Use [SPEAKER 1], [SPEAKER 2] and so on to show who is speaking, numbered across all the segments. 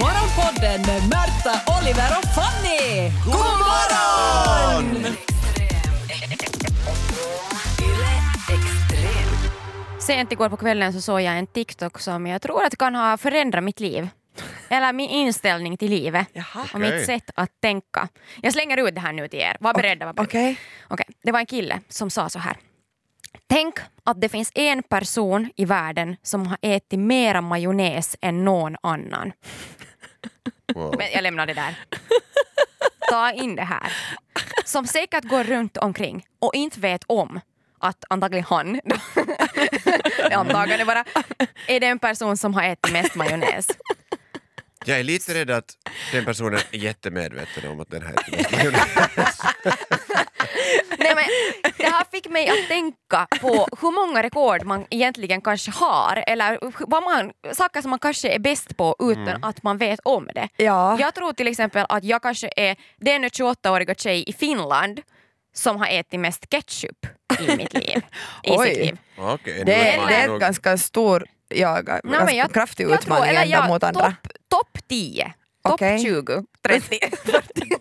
[SPEAKER 1] Morgonpodden med Märta, Oliver och Fanny! God morgon!
[SPEAKER 2] Sent igår på kvällen så såg jag en TikTok som jag tror att kan ha förändrat mitt liv. Eller min inställning till livet och mitt sätt att tänka. Jag slänger ut det här nu till er. Var beredda. Var beredda.
[SPEAKER 1] Okej.
[SPEAKER 2] Okej, Det var en kille som sa så här. Tänk att det finns en person i världen som har ätit mera majonnäs än någon annan.
[SPEAKER 3] Wow.
[SPEAKER 2] Men jag lämnar det där. Ta in det här. Som säkert går runt omkring och inte vet om att antagligen han, antagligen bara, är den person som har ätit mest majonnäs.
[SPEAKER 3] Jag är lite rädd att den personen är jättemedveten om att den här är
[SPEAKER 2] Nej, men, det här fick mig att tänka på hur många rekord man egentligen kanske har eller vad man, saker som man kanske är bäst på utan att man vet om det.
[SPEAKER 1] Ja.
[SPEAKER 2] Jag tror till exempel att jag kanske är den 28-åriga tjej i Finland som har ätit mest ketchup i mitt liv. I
[SPEAKER 4] Oj.
[SPEAKER 2] sitt liv.
[SPEAKER 3] Okej, nu
[SPEAKER 4] Det är,
[SPEAKER 3] man
[SPEAKER 4] det är
[SPEAKER 3] nog-
[SPEAKER 4] ett ganska stor jag, ganska
[SPEAKER 2] men jag-
[SPEAKER 4] kraftig
[SPEAKER 2] Jag tror-
[SPEAKER 4] utmaning
[SPEAKER 2] eller
[SPEAKER 4] ändå
[SPEAKER 2] jag-
[SPEAKER 4] mot andra.
[SPEAKER 2] Topp top 10, topp
[SPEAKER 4] Okej.
[SPEAKER 2] 20, 30, 40.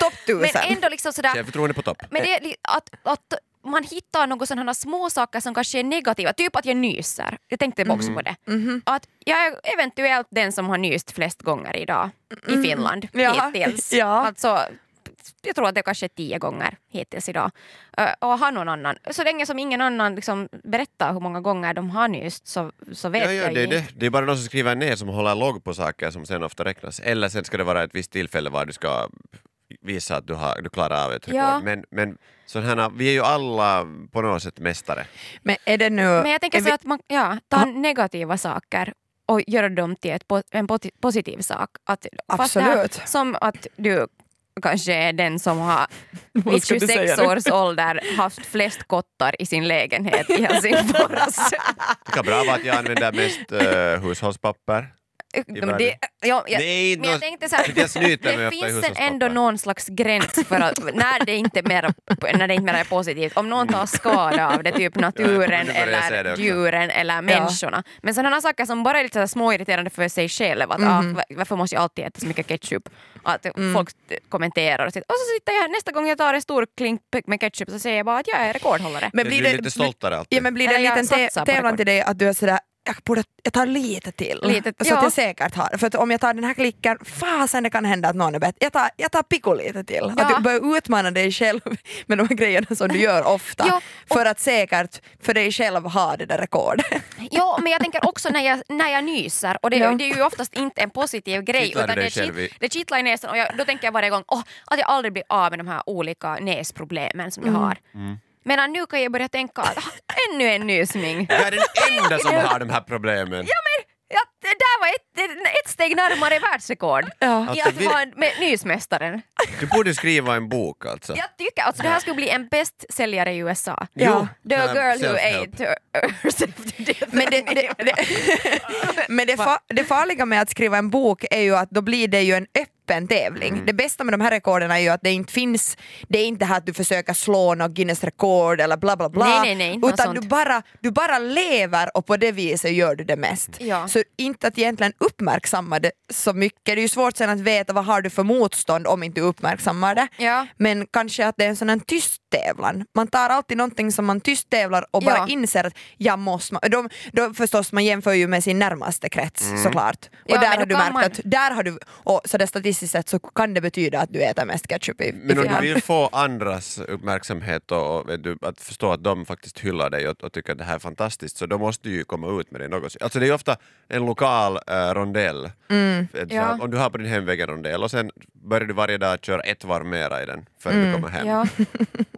[SPEAKER 4] Topp
[SPEAKER 2] Men
[SPEAKER 4] tusen.
[SPEAKER 2] ändå liksom sådär
[SPEAKER 3] Självförtroende på topp.
[SPEAKER 2] Men det är li- att, att man hittar några sådana små saker som kanske är negativa, typ att jag nyser. Jag tänkte
[SPEAKER 3] Mm.
[SPEAKER 2] också på det.
[SPEAKER 4] Mm-hmm.
[SPEAKER 2] Att jag är eventuellt den som har nyst flest gånger idag i Finland
[SPEAKER 4] Jaha.
[SPEAKER 2] hittills.
[SPEAKER 4] Mm. Ja.
[SPEAKER 2] Alltså, jag tror att det kanske är tio gånger hittills idag. Ö, Och har någon annan. Så länge som ingen annan liksom berättar hur många gånger de har nyst så, så vet
[SPEAKER 3] Ja, ja,
[SPEAKER 2] jag
[SPEAKER 3] det, är
[SPEAKER 2] ju
[SPEAKER 3] det. det är bara någon som skriver ner som håller logg på saker som sen ofta räknas. Eller sen ska det vara ett visst tillfälle var du ska visa att du, har, du klarar av ett rekord.
[SPEAKER 2] Ja.
[SPEAKER 3] Men, men sådana här, vi är ju alla på något sätt mästare.
[SPEAKER 4] Men är det nu...
[SPEAKER 2] Men jag tänker
[SPEAKER 4] är
[SPEAKER 2] så
[SPEAKER 4] vi-
[SPEAKER 2] att man ja, tar negativa saker och gör dem till ett, po- en poti- positiv sak. Att, fast det Här,
[SPEAKER 4] Absolut.
[SPEAKER 2] som att du kanske är den som har vid
[SPEAKER 4] Vad ska du
[SPEAKER 2] 26
[SPEAKER 4] säga nu?
[SPEAKER 2] års ålder haft flest kottar i sin lägenhet i Helsingfors.
[SPEAKER 3] Det kan bra vara att jag använder mest eh, hushållspapper. världen.
[SPEAKER 2] det, ja, jag,
[SPEAKER 3] Nej,
[SPEAKER 2] men jag
[SPEAKER 3] nå-
[SPEAKER 2] tänkte så här,
[SPEAKER 3] jag snyter mig
[SPEAKER 2] det
[SPEAKER 3] ofta i
[SPEAKER 2] finns en
[SPEAKER 3] hushållspapper.
[SPEAKER 2] ändå någon slags gräns för att, när det inte mer, när det inte mer är positivt. Om någon tar skada av det, typ naturen
[SPEAKER 3] nu börjar jag säga det
[SPEAKER 2] eller
[SPEAKER 3] också.
[SPEAKER 2] djuren eller människorna. Men sådana saker som bara är lite så här småirriterande för sig själv, att
[SPEAKER 3] Mhm.
[SPEAKER 2] ah, va- varför måste jag alltid äta så mycket ketchup? Att
[SPEAKER 3] Mm.
[SPEAKER 2] folk t- kommenterar och, så- och så sitter jag nästa gång jag tar en stor klink med ketchup så säger jag bara att jag är rekordhållare.
[SPEAKER 4] Men
[SPEAKER 3] Men
[SPEAKER 4] blir
[SPEAKER 3] du är
[SPEAKER 4] det-
[SPEAKER 3] lite stoltare alltid.
[SPEAKER 4] Ja, men blir det en
[SPEAKER 2] Eller jag
[SPEAKER 4] liten
[SPEAKER 2] satsar
[SPEAKER 4] tä-
[SPEAKER 2] på
[SPEAKER 4] tävlan
[SPEAKER 2] rekord.
[SPEAKER 4] till dig att du är sådär jag, borde, jag tar lite till,
[SPEAKER 2] Lite-
[SPEAKER 4] så
[SPEAKER 2] ja.
[SPEAKER 4] att jag säkert har. För att om jag tar den här klicken, fasen det kan hända att någon är bättre. Jag tar, jag tar pico lite till.
[SPEAKER 2] Ja.
[SPEAKER 4] Att du börjar utmana dig själv med de här grejerna som du gör ofta.
[SPEAKER 2] Ja,
[SPEAKER 4] För att säkert för dig själv ha det där rekordet.
[SPEAKER 2] Ja, men jag tänker också när jag, när jag nyser och det,
[SPEAKER 4] Ja.
[SPEAKER 2] det är ju oftast inte en positiv grej
[SPEAKER 3] Kittlar du
[SPEAKER 2] utan
[SPEAKER 3] dig
[SPEAKER 2] det,
[SPEAKER 3] själv i-
[SPEAKER 2] kitt, det kittlar i näsan och jag, då tänker jag varje gång åh att jag aldrig blir av med de här olika näsproblemen som
[SPEAKER 4] Mm.
[SPEAKER 2] jag har.
[SPEAKER 3] Mm.
[SPEAKER 2] Medan nu kan jag börja tänka att ah, ännu en nysning.
[SPEAKER 3] Jag är den enda som har de här problemen.
[SPEAKER 2] Ja, det där var ett, ett steg närmare världsrekord i
[SPEAKER 3] Alltså,
[SPEAKER 2] att
[SPEAKER 3] vi-
[SPEAKER 2] vara en- med nysmästaren.
[SPEAKER 3] Du borde skriva en bok alltså.
[SPEAKER 2] Jag tycker alltså det här skulle bli en bästsäljare i USA.
[SPEAKER 4] Ja.
[SPEAKER 2] The
[SPEAKER 3] sån här
[SPEAKER 2] girl who
[SPEAKER 3] self-help.
[SPEAKER 2] ate her- herself to death.
[SPEAKER 4] Men, det, det, det, men det, fa, det farliga med att skriva en bok är ju att då blir det ju en öppen tävling.
[SPEAKER 2] Mm.
[SPEAKER 4] Det bästa med de här rekorden är ju att det inte finns, det är inte här att du försöker slå något Guinness rekord eller bla bla bla.
[SPEAKER 2] Nej, nej, nej, något
[SPEAKER 4] utan
[SPEAKER 2] sånt.
[SPEAKER 4] du bara, du bara lever och på det viset gör du det mest.
[SPEAKER 2] Ja.
[SPEAKER 4] Så inte att egentligen uppmärksamma det så mycket. Det är ju svårt sen att veta vad har du för motstånd om inte du uppmärksammar det.
[SPEAKER 2] Ja.
[SPEAKER 4] Men kanske att det är en sån här tyst tävlan. Man tar alltid någonting som man tyst tävlar och bara
[SPEAKER 2] Ja.
[SPEAKER 4] inser att jag måste, de, de, förstås man jämför ju med sin närmaste krets såklart. Och
[SPEAKER 2] Mm.
[SPEAKER 4] där
[SPEAKER 2] Ja, men då
[SPEAKER 4] har du
[SPEAKER 2] kan
[SPEAKER 4] märkt
[SPEAKER 2] man-
[SPEAKER 4] att, där har du, och så där statistiskt sett så kan det betyda att du äter mest ketchup i,
[SPEAKER 3] Men
[SPEAKER 4] i
[SPEAKER 3] om du
[SPEAKER 4] Finland.
[SPEAKER 3] vill få andras uppmärksamhet och, och vet du, att förstå att de faktiskt hyllar dig och, och tycker att det här är fantastiskt så då måste du ju komma ut med det något. Alltså det är ju ofta en lokal eh, rondell. Ett så
[SPEAKER 2] Mm, Ja.
[SPEAKER 3] här, Om du har på din hemväg en rondell och sen börjar du varje dag köra ett varv mera i den förrän du kommer hem.
[SPEAKER 2] Mm, Ja.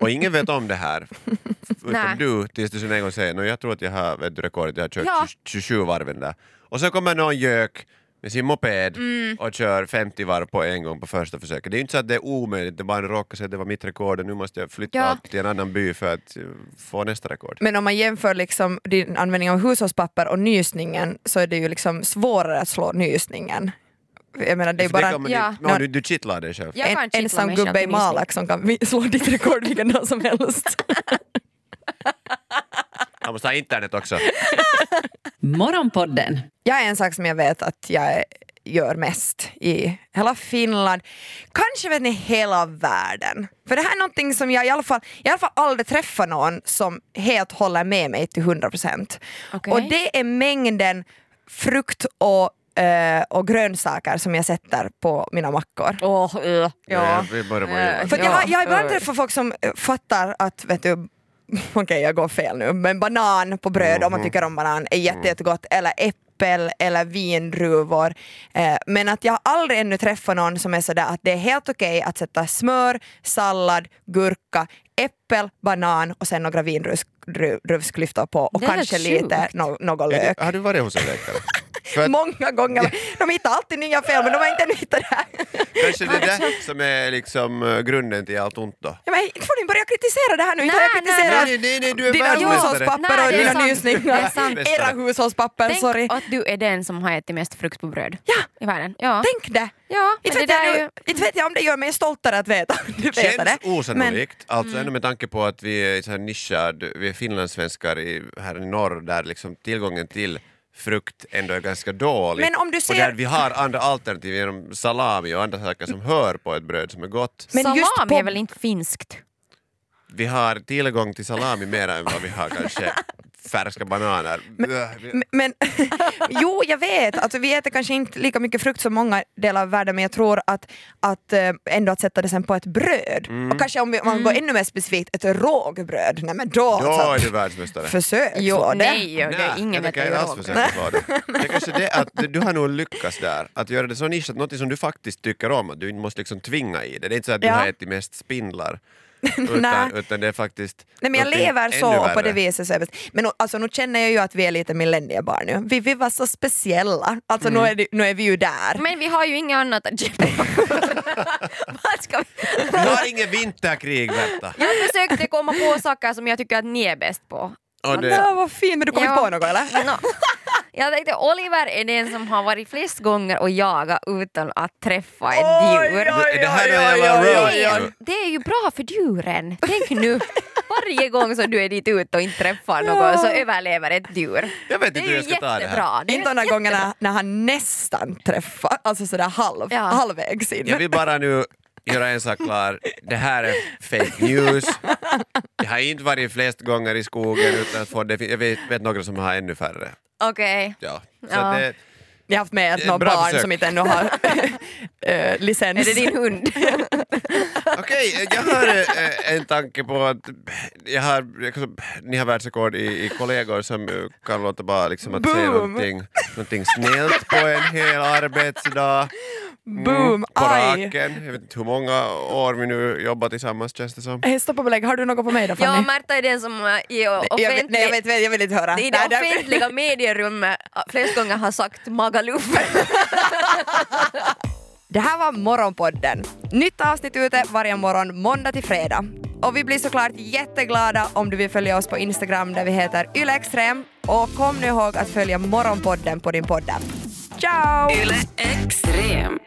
[SPEAKER 3] Och ingen vet om det här. Utom
[SPEAKER 2] Nej.
[SPEAKER 3] du, tills du sen en gång säger "Nå, jag tror att jag har vet du, rekordet, jag har kört
[SPEAKER 2] Ja.
[SPEAKER 3] 27 varven där. Och så kommer någon gök med sin moped
[SPEAKER 2] Mm.
[SPEAKER 3] och kör 50 varv på en gång på första försöket. Det är ju inte så att det är omöjligt, det bara råkar sig att det var mitt rekord och nu måste jag flytta
[SPEAKER 2] Ja.
[SPEAKER 3] till en annan by för att eh, få nästa rekord.
[SPEAKER 4] Men om man jämför liksom din användning av hushållspapper och nysningen så är det ju liksom svårare att slå nysningen. Jag menar det är ju
[SPEAKER 3] För
[SPEAKER 4] bara
[SPEAKER 3] kommer
[SPEAKER 2] Ja.
[SPEAKER 3] dit- Nå, du, du kittlar dig själv.
[SPEAKER 2] Ja. Jag kan
[SPEAKER 4] en
[SPEAKER 2] kittla mig
[SPEAKER 4] ensam
[SPEAKER 2] själv
[SPEAKER 4] gubbe i
[SPEAKER 2] till nysning.
[SPEAKER 4] Malak som kan vi- slå ditt rekord vilken dag som helst.
[SPEAKER 3] Jag måste ha internet också.
[SPEAKER 1] Morgonpodden
[SPEAKER 4] Jag är en sak som jag vet att jag är gör mest i hela Finland. Kanske vet ni hela världen. För det här är någonting som jag i alla fall, jag i alla fall aldrig träffar någon som helt håller med mig till 100%.
[SPEAKER 2] Okej.
[SPEAKER 4] Och det är mängden frukt och, eh, och grönsaker som jag sätter på mina mackor.
[SPEAKER 2] Åh, eh,
[SPEAKER 4] Ja.
[SPEAKER 3] Vi börjar med
[SPEAKER 2] Eh,
[SPEAKER 4] För att jag,
[SPEAKER 2] Ja,
[SPEAKER 4] har- jag har ibland
[SPEAKER 2] över.
[SPEAKER 4] träffat folk som eh, fattar att, vet du, okej jag går fel nu, men banan på bröd
[SPEAKER 2] Mm-hmm.
[SPEAKER 4] om man tycker om banan är
[SPEAKER 2] Mm.
[SPEAKER 4] jätte, jättegott eller äppel eller vindruvor. Eh, men att jag har aldrig ännu träffat någon som är sådär att det är helt okej att sätta smör, sallad, gurka, äppel, banan och sen några vindruvsklyftor på och
[SPEAKER 2] Det är
[SPEAKER 4] kanske
[SPEAKER 2] sjukt. Eh,
[SPEAKER 4] lite no, någon lök.
[SPEAKER 3] Har du varit hos en läkare? För att
[SPEAKER 4] Många gånger. De hittar alltid nya fel men de har inte ännu hittat det här.
[SPEAKER 3] kanske det är det som är liksom eh, grunden till allt ont då.
[SPEAKER 4] Ja, men inte får ni börja kritisera det här nu, inte har jag
[SPEAKER 2] Nej, nej,
[SPEAKER 4] kritiserat
[SPEAKER 3] Nej, nej, nej, nej, du är
[SPEAKER 4] dina
[SPEAKER 3] världsmästare.
[SPEAKER 4] hushållspapper och
[SPEAKER 2] Nej, det är
[SPEAKER 4] dina
[SPEAKER 2] sant. Det är
[SPEAKER 4] nysningar.
[SPEAKER 2] sant.
[SPEAKER 4] Era hushållspapper,
[SPEAKER 2] Tänk
[SPEAKER 4] sorry.
[SPEAKER 2] att du är den som har ätit mest frukt på bröd
[SPEAKER 4] Ja.
[SPEAKER 2] i världen. Ja,
[SPEAKER 4] Tänk det!
[SPEAKER 2] ja men
[SPEAKER 4] Inte
[SPEAKER 2] det
[SPEAKER 4] vet, jag
[SPEAKER 2] där är
[SPEAKER 4] nu,
[SPEAKER 2] ju...
[SPEAKER 4] inte vet jag om det gör mig stoltare att veta. Du vet
[SPEAKER 3] Känns
[SPEAKER 4] det.
[SPEAKER 3] osannolikt, alltså ändå med tanke på att vi är så här nischad, vi är finlandssvenskar i, här i norr där liksom tillgången till frukt ändå är ganska dålig.
[SPEAKER 4] Men om du
[SPEAKER 3] Och
[SPEAKER 4] ser-
[SPEAKER 3] där vi har andra alternativ genom salami och andra saker som hör på ett bröd som är gott.
[SPEAKER 4] Men
[SPEAKER 2] salami
[SPEAKER 4] just på-
[SPEAKER 2] är väl inte finskt?
[SPEAKER 3] Vi har tillgång till salami mer än vad vi har kanske färska bananer. Äh, vi-
[SPEAKER 4] M- Men, jo, jag vet. Alltså, vi äter kanske inte lika mycket frukt som många delar av världen men jag tror att, att eh, ändå att sätta det sen på ett bröd
[SPEAKER 2] Mm.
[SPEAKER 4] och kanske om vi- man går ännu mer specifikt ett rågbröd, nej men då,
[SPEAKER 3] Då är
[SPEAKER 4] alltså,
[SPEAKER 3] du världsmästare.
[SPEAKER 4] försök slå det.
[SPEAKER 2] nej, det är ingen
[SPEAKER 3] jag
[SPEAKER 2] vet
[SPEAKER 3] kan inte alls försöka vara det. Det är kanske det att du, du har nog lyckats där, att göra det så nischat, något som du faktiskt tycker om, att du inte måste liksom tvinga i det. Det är inte så att du
[SPEAKER 4] Ja.
[SPEAKER 3] har ätit mest spindlar,
[SPEAKER 4] Nej.
[SPEAKER 3] utan, utan det är faktiskt
[SPEAKER 4] Nej men jag
[SPEAKER 3] någonting
[SPEAKER 4] lever så
[SPEAKER 3] ännu
[SPEAKER 4] och på
[SPEAKER 3] värre.
[SPEAKER 4] det viset så är det bäst. Men o- alltså, nu känner jag ju att vi är lite millenniebarn nu. Vi, vi var så speciella. Alltså
[SPEAKER 3] Mm.
[SPEAKER 4] nu, är det, nu är vi ju där.
[SPEAKER 2] Men vi har ju inget annat att göra. Vad ska vi...
[SPEAKER 3] Vi har inget vinterkrig Berta!
[SPEAKER 2] Jag försökte komma på saker som jag tycker att ni är bäst på.
[SPEAKER 3] Och det,
[SPEAKER 4] Ja, vad fint, men du kom
[SPEAKER 2] Ja.
[SPEAKER 4] inte på något eller?
[SPEAKER 2] Nå, Jag tänkte Oliver är den som har varit flest gånger och jagat utan att träffa ett
[SPEAKER 4] Oj,
[SPEAKER 2] djur.
[SPEAKER 4] oj,
[SPEAKER 3] Det här är
[SPEAKER 4] oj,
[SPEAKER 3] en
[SPEAKER 4] oj,
[SPEAKER 3] jävla
[SPEAKER 4] oj,
[SPEAKER 3] roast
[SPEAKER 4] oj, oj.
[SPEAKER 3] nu.
[SPEAKER 2] Det är ju bra för djuren. Tänk nu. Varje gång som du är dit ute och inte träffar
[SPEAKER 4] Ja.
[SPEAKER 2] någon så överlever ett djur.
[SPEAKER 3] jag vet
[SPEAKER 2] Det är
[SPEAKER 3] inte hur
[SPEAKER 2] ju
[SPEAKER 3] jag ska ta det här.
[SPEAKER 2] jättebra. Det är
[SPEAKER 4] Inte de där gångerna när han nästan träffar, alltså sådär halv,
[SPEAKER 2] Ja.
[SPEAKER 4] halvvägs in.
[SPEAKER 3] Jag vill bara nu göra en sak klar, det här är fake news. Jag har inte varit flest gånger i skogen utan att få det. Jag vet, vet några som har ännu färre.
[SPEAKER 2] Okej.
[SPEAKER 3] Ja. Så
[SPEAKER 2] Ja.
[SPEAKER 3] Det,
[SPEAKER 4] Jag har haft med att
[SPEAKER 3] Det är
[SPEAKER 4] några
[SPEAKER 3] bra
[SPEAKER 4] barn
[SPEAKER 3] försök.
[SPEAKER 4] som inte ännu har eh, licens.
[SPEAKER 2] Är det din hund?
[SPEAKER 3] Okej, jag har eh, en tanke på att jag har, jag kan- ni har världsrekord i, i kollegor som eh, kan låta bara liksom att säga
[SPEAKER 4] Boom.
[SPEAKER 3] någonting, någonting snällt på en hel arbetsdag. Mm,
[SPEAKER 4] Boom,
[SPEAKER 3] På
[SPEAKER 4] aj.
[SPEAKER 3] raken. Jag vet inte hur många år vi nu jobbar tillsammans känns det som.
[SPEAKER 4] Hej, Stoppa Eh, och belägg, har du något på mig då
[SPEAKER 2] Ja,
[SPEAKER 4] Fanny?
[SPEAKER 2] Märta är den som eh, i
[SPEAKER 4] jag, vet, nej, jag,
[SPEAKER 2] offentlig...
[SPEAKER 4] vet, jag vill inte höra.
[SPEAKER 2] I det
[SPEAKER 4] Nej, där-
[SPEAKER 2] offentliga medierummet flest gånger har sagt Magaluf.
[SPEAKER 4] Det här var Morgonpodden. Nytt avsnitt ute varje morgon måndag till fredag. Och vi blir såklart jätteglada om du vill följa oss på Instagram där vi heter ylextrem. Och kom nu ihåg att följa Morgonpodden på din poddapp. Ciao!
[SPEAKER 5] Yle Extrem.